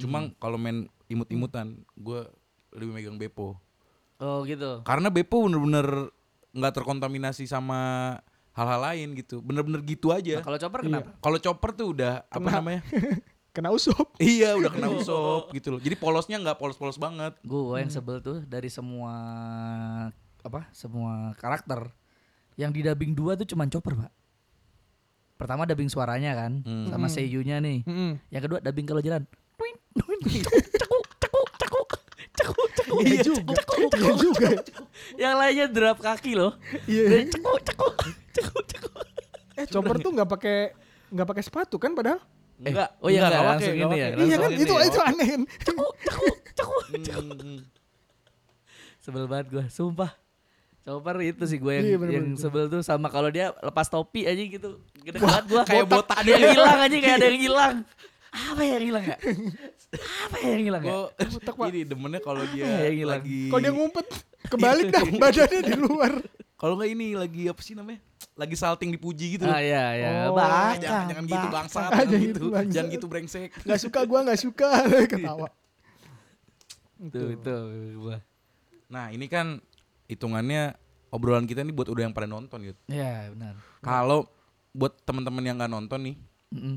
Cuma kalau main imut-imutan, gue lebih megang Beppo. Oh gitu Karena Beppo bener-bener nggak terkontaminasi sama hal-hal lain gitu bener-bener gitu Nah, aja kalau chopper Iya. kenapa? kalau chopper tuh udah apa Kena. namanya Kena usop. iya udah kena usop gitu loh jadi polosnya nggak polos-polos banget Gue Hmm. yang sebel tuh dari semua apa? Semua karakter yang di dubbing dua tuh cuman chopper, Pak. Pertama dubbing suaranya kan Hmm. sama Hmm. seiyunya nih. Mm-mm. Yang kedua dubbing kalau jalan. Twin, twin, cekuk, cekuk, cekuk, cekuk, cekuk. Iya juga. Iya juga. ya. Yang lainnya derap kaki loh. Iya. Dan Cekuk, cekuk, cekuk, cekuk. Eh chopper tuh nggak pakai nggak pakai sepatu kan padahal? Enggak, oh iya, enggak, enggak langsung pakai, ini enggak ya, Iya pakai. langsung kan ini itu ya. itu aneh kan. Cekuk, cekuk, cekuk. Hmm, hmm. Sebel banget gue, sumpah. Chopper itu sih gue yang, Iya, bener-bener. yang sebel tuh sama kalau dia lepas topi aja gitu. Gede banget gue. kayak botak Ada yang hilang aja kayak ada yang hilang. Apa yang hilang ya? Apa yang hilang ya? Gua Botak, Pak. Iya, ini demennya kalau Apa dia yang hilang? lagi Kalau dia ngumpet kebalik dah badannya di luar. kalau nggak ini lagi apa sih namanya lagi salting dipuji gitu Ah iya iya. Oh, Ah, Bakang, jangan, jangan gitu bakang. bangsa Ah, jangan jangan gitu gitu, bangsa. jangan gitu brengsek Gak suka gua nggak suka ketawa. Tuh itu gua. nah ini kan hitungannya obrolan kita ini buat udah yang pada nonton gitu Iya benar. kalau buat teman-teman yang nggak nonton nih Mm-mm.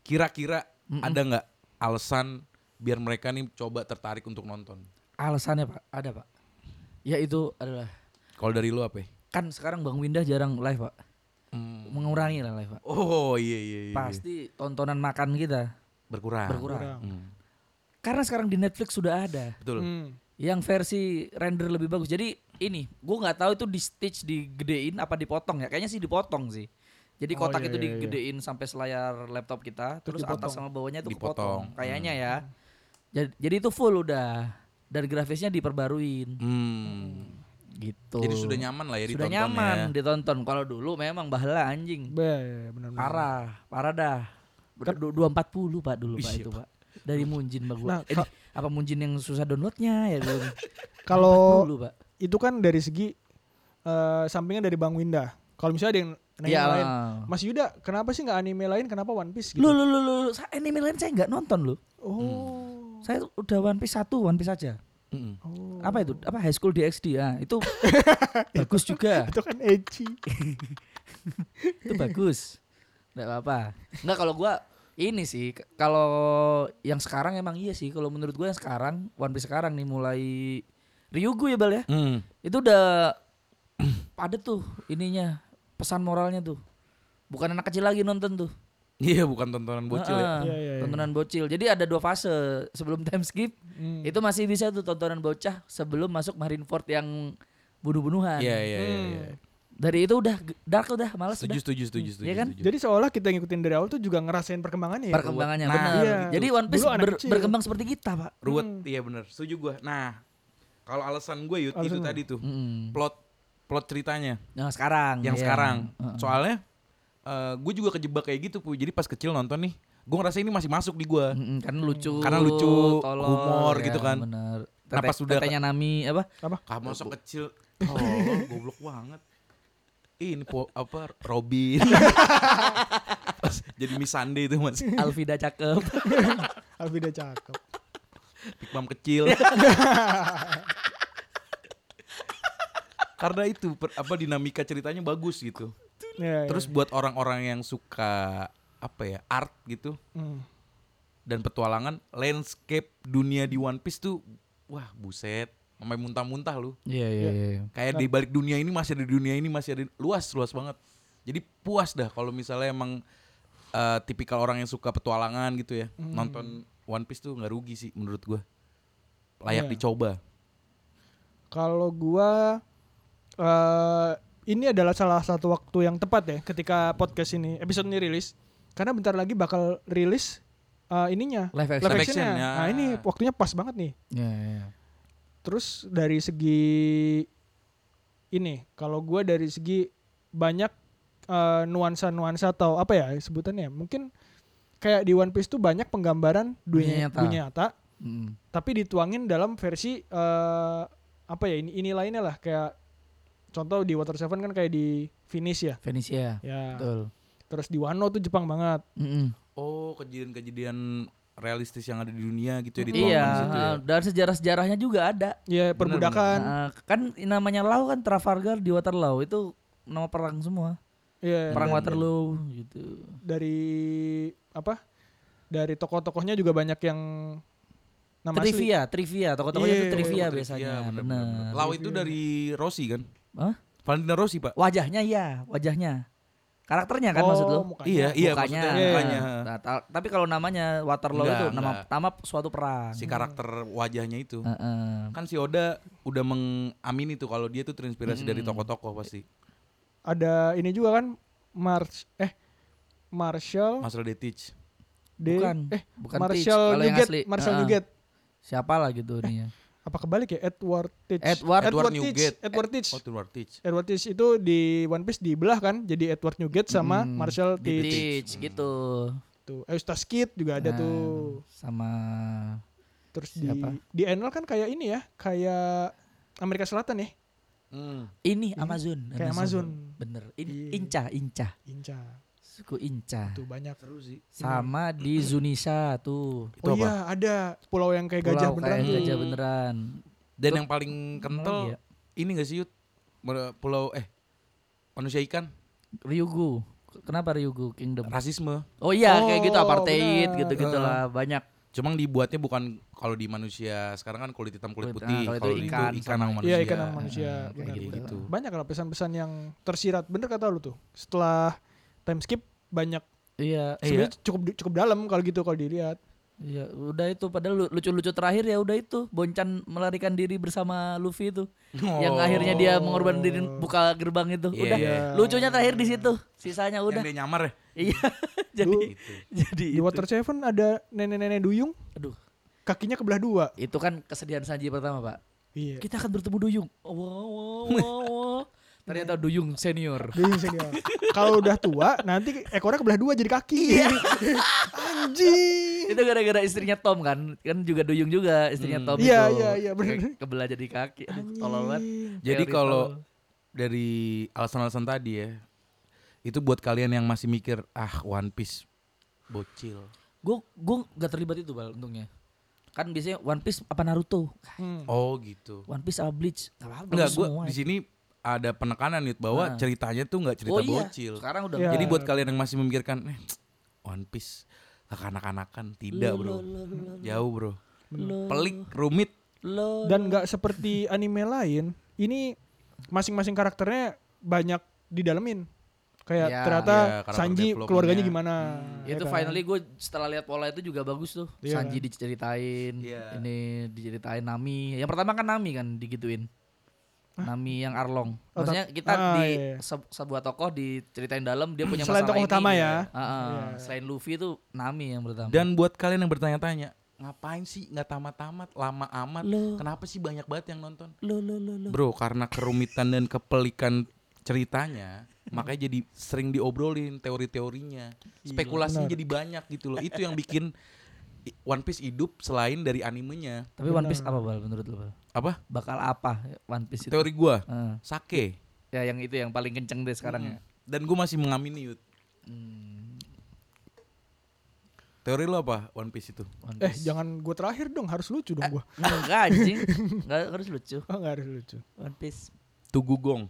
kira-kira Mm-mm. ada nggak alasan biar mereka nih coba tertarik untuk nonton Alasannya Pak, ada Pak. Ya itu adalah kalau dari lu apa ya? kan sekarang Bang Windah jarang live Pak. Hmm. Mengurangi lah live Pak. oh iya iya, iya. Pasti tontonan makan kita Ah. berkurang berkurang. Hmm, Karena sekarang di Netflix sudah ada. betul Hmm. yang versi render lebih bagus. Jadi ini, gue nggak tahu itu di stitch digedein apa dipotong ya. Kayaknya sih dipotong sih. Jadi Oh, kotak iya, itu iya, iya. digedein sampai selayar laptop kita, terus, Terus dipotong. atas sama bawahnya itu Dipotong. dipotong. Kayaknya ya. Jadi, jadi itu full udah dan grafisnya diperbaruin Hmm. gitu. jadi sudah nyaman lah ya Sudah ditonton nyaman ya ditonton. Kalau dulu memang bahla anjing. ya, Benar-benar. Parah, parah dah. Dua empat puluh pak dulu pak Iya, itu pak. Dari Munjin pak gua. Nah, Eh, ka- apa Munjin yang susah downloadnya ya dulu. Kalau dulu pak. itu kan dari segi eh sampingan dari Bang Winda. Kalau misalnya ada yang nanya Iya. yang lain, Mas Yuda, kenapa sih nggak anime lain? Kenapa One Piece? Gitu? Lu lu lu lu lu, sa- anime lain saya nggak nonton loh. Oh. Saya udah One Piece satu, One Piece aja. Mm-mm. oh. Apa itu? Apa High School DxD? Ah, itu bagus juga. Itu kan Echi. itu bagus. Enggak apa-apa. Enggak kalau gua ini sih k- kalau yang sekarang emang iya sih kalau menurut gua yang sekarang One Piece sekarang nih mulai Ryugu ya Bal ya. Hmm. Itu udah padat tuh ininya, pesan moralnya tuh. Bukan anak kecil lagi nonton tuh. Iya bukan tontonan bocil ya. Heeh, Iya, iya, iya. Tontonan bocil. Jadi ada dua fase sebelum time skip Hmm. Itu masih bisa tuh tontonan bocah sebelum masuk Marineford yang bunuh-bunuhan. Iya iya iya. Hmm. iya. Dari itu udah ge- dark udah males Setuju udah setuju setuju setuju. Iya kan? setuju. Jadi seolah kita ngikutin dari awal tuh juga ngerasain perkembangannya ya. perkembangannya Nah, benar. iya. Jadi One Piece Dulu anak ber- kecil. berkembang seperti kita, Pak. ruwet iya bener setuju gua. Nah kalau alasan gue Yud, itu Alasan tadi tuh Mm-mm. plot plot ceritanya Yang sekarang. yang iya. sekarang. Heeh. Soalnya gue juga kejebak kayak gitu pu. Jadi pas kecil nonton nih gue ngerasa ini masih masuk di gua Mm-mm, karena lucu. Karena lucu, tolol, humor ya, gitu kan. Benar. Nah, Tete, pas udah- tetenya Nami apa? Apa? Kamu Ah, masuk kecil. Oh goblok banget. Ih, Ini po, apa Robin. Pas jadi Miss Sunday itu masih Alvida cakep. Alvida cakep. Pikmam kecil. Karena itu per- apa dinamika ceritanya bagus gitu. Ya, ya. Terus buat orang-orang yang suka apa ya art gitu Hmm. dan petualangan, landscape dunia di One Piece tuh wah buset, sampai muntah-muntah lu. Iya, iya, iya. Kayak di balik dunia ini masih ada dunia ini masih ada luas luas banget. Jadi puas dah kalau misalnya emang eh, tipikal orang yang suka petualangan gitu ya nonton One Piece tuh nggak rugi sih menurut gua. Layak Iya. dicoba. Kalau gua eh ini adalah salah satu waktu yang tepat ya ketika podcast ini episode ini rilis karena bentar lagi bakal rilis eh, ininya Live action. ya. live Live actionnya. actionnya. Nah ini waktunya pas banget nih. Iya, iya. Terus dari segi ini, kalau gua dari segi banyak eh, nuansa-nuansa atau apa ya sebutannya, mungkin kayak di One Piece tuh banyak penggambaran dunia Dunia nyata. nyata, dunia nyata Mm. tapi dituangin dalam versi eh, apa ya ini ini lainnya lah kayak contoh di Water Seven kan kayak di Finish ya, Venesia. ya. Betul. Terus di Wano tuh Jepang banget. Mm-mm. Oh, kejadian-kejadian realistis yang ada di dunia gitu ya dituangkan Iya, di situ ya. ah, dan sejarah-sejarahnya juga ada. Ya Ah. perbudakan. kan Nah, kan namanya Lau kan Trafalgar di Waterloo itu nama perang semua. Iya. perang dan Waterloo gitu dari apa? Dari tokoh-tokohnya juga banyak yang nama asli. trivia trivia tokoh-tokohnya Iya, itu trivia Iya, biasanya bener, bener, bener. bener Lau itu dari Rossi kan? Hah? Valentino Rossi, Pak. wajahnya ya wajahnya karakternya kan maksud lo Oh, mukanya. Iya, iya mukanya, maksudnya Iya. mukanya. Nah, ta- tapi kalau namanya Waterloo Enggak, itu nama enggak. nama suatu perang Si karakter wajahnya itu. Heeh. Kan si Oda udah mengamini tuh kalau dia tuh terinspirasi dari Hmm. tokoh-tokoh pasti. Ada ini juga kan March eh Marshall Mas Rode Teach. D Bukan, eh bukan Marshall Teach, kalau yang Nugget, asli. Ah. Marshall Heeh. Nugget. siapa lah gitu nih ya Apa kebalik ya? Edward Teach. Edward- Edward Teach. Nugget. Edward Teach. Oh, Edward Teach. Edward Teach itu di One Piece dibelah kan jadi Edward Nugget sama Mm, Marshall Teach. Teach gitu Tuh, Eustace Kid juga ada Nah, tuh. sama Terus Siapa? di di NL kan kayak ini ya, kayak Amerika Selatan ya. Hmm. ini Amazon Kayak Amazon. bener In- Iya. Inca Inca Inca. suku Inca Tuh banyak. Seru sih. sama di Zunisha tuh Itu oh apa? iya, ada pulau yang kayak Pulau gajah kayak beneran tuh. gajah beneran Dan yang paling kental Iya. ini gak sih Yud? Mer- Pulau eh manusia ikan Ryugu kenapa Ryugu Kingdom rasisme oh iya Oh, kayak gitu apartheid benar. gitu gitulah banyak cuman dibuatnya bukan kalau di manusia sekarang kan kulit hitam kulit Kulit- putih ah, kalau itu kalau itu ikan ikan, sama- sama manusia Iya, ikan sama manusia. Ah, kayak benar, gitu. benar. Gitu. Banyak lah pesan-pesan yang tersirat. Bener kata lu tuh. Setelah time skip banyak iya sebenarnya cukup cukup dalam kalau gitu kalau dilihat. iya udah itu padahal lu- lucu-lucu terakhir ya udah itu Boncan melarikan diri bersama Luffy itu Oh. yang akhirnya dia mengorbankan diri buka gerbang itu Iya, udah iya. lucunya terakhir di situ sisanya udah udah dia nyamar ya iya jadi gitu. jadi Di Water Seven ada nenek-nenek duyung, aduh kakinya kebelah dua. itu kan kesedihan Sanji pertama pak Iya. kita akan bertemu duyung wow wow wow, wow. ternyata duyung senior Duyung senior. oh. Kalau udah tua, nanti ekornya kebelah dua jadi kaki. Iya. Anjing. itu gara-gara istrinya Tom kan kan juga duyung juga istrinya Tom Iya, itu iya, iya, bener. Ke- kebelah jadi kaki aduh tolol banget Anjing. jadi Teori kalau tolol. dari alasan-alasan tadi ya itu buat kalian yang masih mikir ah One Piece bocil gue gue gak terlibat itu bal untungnya kan biasanya One Piece apa Naruto Hmm. oh gitu One Piece apa Bleach Gak apa-apa, enggak bagus gue semua. ya. di sini ada penekanan Yud bahwa Ah. ceritanya tuh nggak cerita oh, iya. bocil sekarang udah Iya. Jadi buat kalian yang masih memikirkan eh, One Piece kekanak-kanakan tidak bro. Jauh bro. Hmm. Pelik, rumit. lo Dan nggak seperti anime lain, ini masing-masing karakternya banyak didalemin. Kayak Iya. ternyata Iya, karakter Sanji development-nya. Hmm. keluarganya gimana. ya itu kan? finally gue setelah lihat pola itu juga bagus tuh Iya Sanji kan? diceritain Iya. ini diceritain Nami yang pertama kan Nami kan digituin Nami yang Arlong Oh, maksudnya tak- kita ah, di iya. se- sebuah tokoh diceritain dalam dia punya Selain masalah tokoh ini. utama ya. Ah, ah. Iya. selain Luffy itu Nami yang pertama Dan buat kalian yang bertanya-tanya, ngapain sih nggak tamat-tamat, lama amat? Loh. Kenapa sih banyak banget yang nonton? lo lo lo lo Bro, karena kerumitan dan kepelikan ceritanya, makanya jadi sering diobrolin teori-teorinya. Spekulasinya benar. jadi banyak gitu loh. Itu yang bikin i- One Piece hidup selain dari animenya. tapi One Piece apa bal menurut lo bal Apa? bakal apa One Piece itu Teori gua, Ah. sake. ya yang itu yang paling kenceng deh sekarang ya Hmm, Dan gue masih mengamini Yud. Hmm. Teori lo apa One Piece itu? One Eh Piece. jangan gue terakhir dong, harus lucu Eh. dong gue. Enggak anjing Enggak harus lucu Oh nggak harus lucu. One Piece Tugu Gong.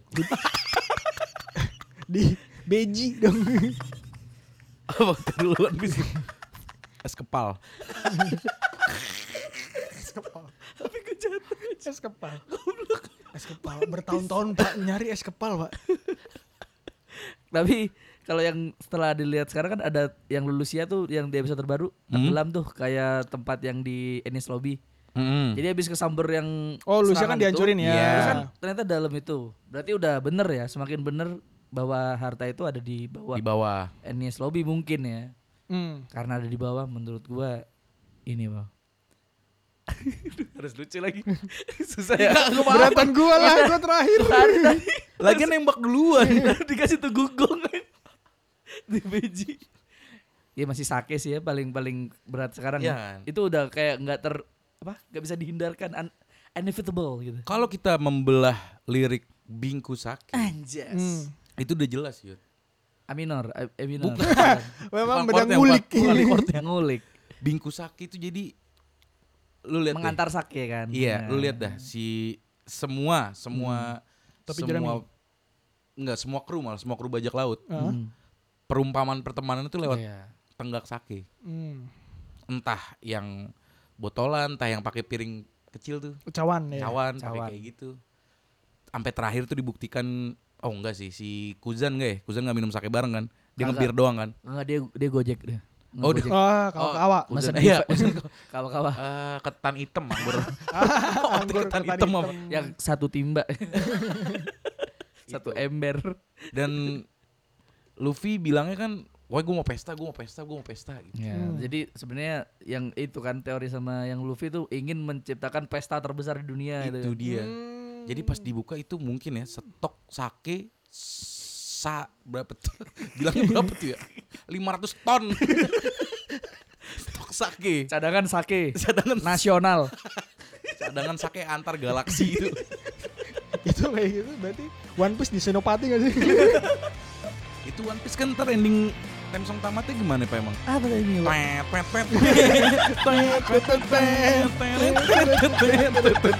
Di beji dong. apa dulu One Piece? Es kepal. Tapi gue jatuh es kepal. Es kepal bertahun-tahun pak nyari es kepal pak. Tapi kalau yang setelah dilihat sekarang kan ada yang lulusia tuh yang di episode terbaru tenggelam tuh kayak tempat yang di Ennis Lobby. Jadi habis kesamber yang Oh Lucia kan serangan itu, dihancurin ya. iya. terus kan ternyata dalam itu. Berarti udah bener ya, semakin bener bahwa harta itu ada di bawah Di bawah. Ennis Lobby mungkin ya. Hmm. Karena ada di bawah menurut gua ini, Bang. Harus lucu lagi. Susah ya. Beratan gue lah, gue terakhir. Tadi tadi Lagi nembak duluan. dikasih tuh gugong di beji ya masih sake sih ya paling paling berat sekarang Iya kan? ya. itu udah kayak nggak ter apa nggak bisa dihindarkan un- inevitable gitu Kalau kita membelah lirik Bingku Sake, anjas itu udah jelas Yud. Hmm. aminor a- aminor Memang bedang Bukan chordnya, ngulik. bukan- bukan chord. ngulik Bingku Sake itu jadi lu lihat deh. mengantar sake kan Iya, Nah. Hmm. lu lihat dah si semua semua Topi semua jerami. nggak semua kru malah semua kru bajak laut Hah? Hmm. perumpamaan pertemanan itu lewat Iya. tenggak sake Hmm. entah yang botolan entah yang pakai piring kecil tuh Cawan ya. cawan pakai Iya, cawan. kayak gitu sampai terakhir tuh dibuktikan oh enggak sih si Kuzan enggak ya Kuzan nggak minum sake bareng kan dia Kagak. ngebir doang kan Enggak dia dia gojek dia. Oh, dia- Ngegojek. Oh, kau Oh, kawa. Kuzan. Mesen iya di- kawa-kawa Eh, ketan hitam anggur Anggur Hmm. ketan ketan hitam apa? Ya, hitam. yang satu timba. satu ember. dan Luffy bilangnya kan wah gue mau pesta gue mau pesta gue mau pesta gitu. Ya, Hmm. jadi sebenarnya yang itu kan teori sama yang Luffy itu ingin menciptakan pesta terbesar di dunia itu gitu. dia Hmm. jadi pas dibuka itu mungkin ya stok sake sa berapa tuh bilangnya berapa tuh ya 500 ton stok sake Cadangan sake cadangan nasional. cadangan sake antar galaksi itu itu kayak gitu berarti One Piece di Senopati gak sih? itu One Piece kan ntar ending time song tamatnya gimana pak emang Apa tadi ini? Pak? Pet, pet,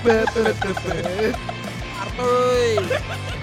pet. Arthur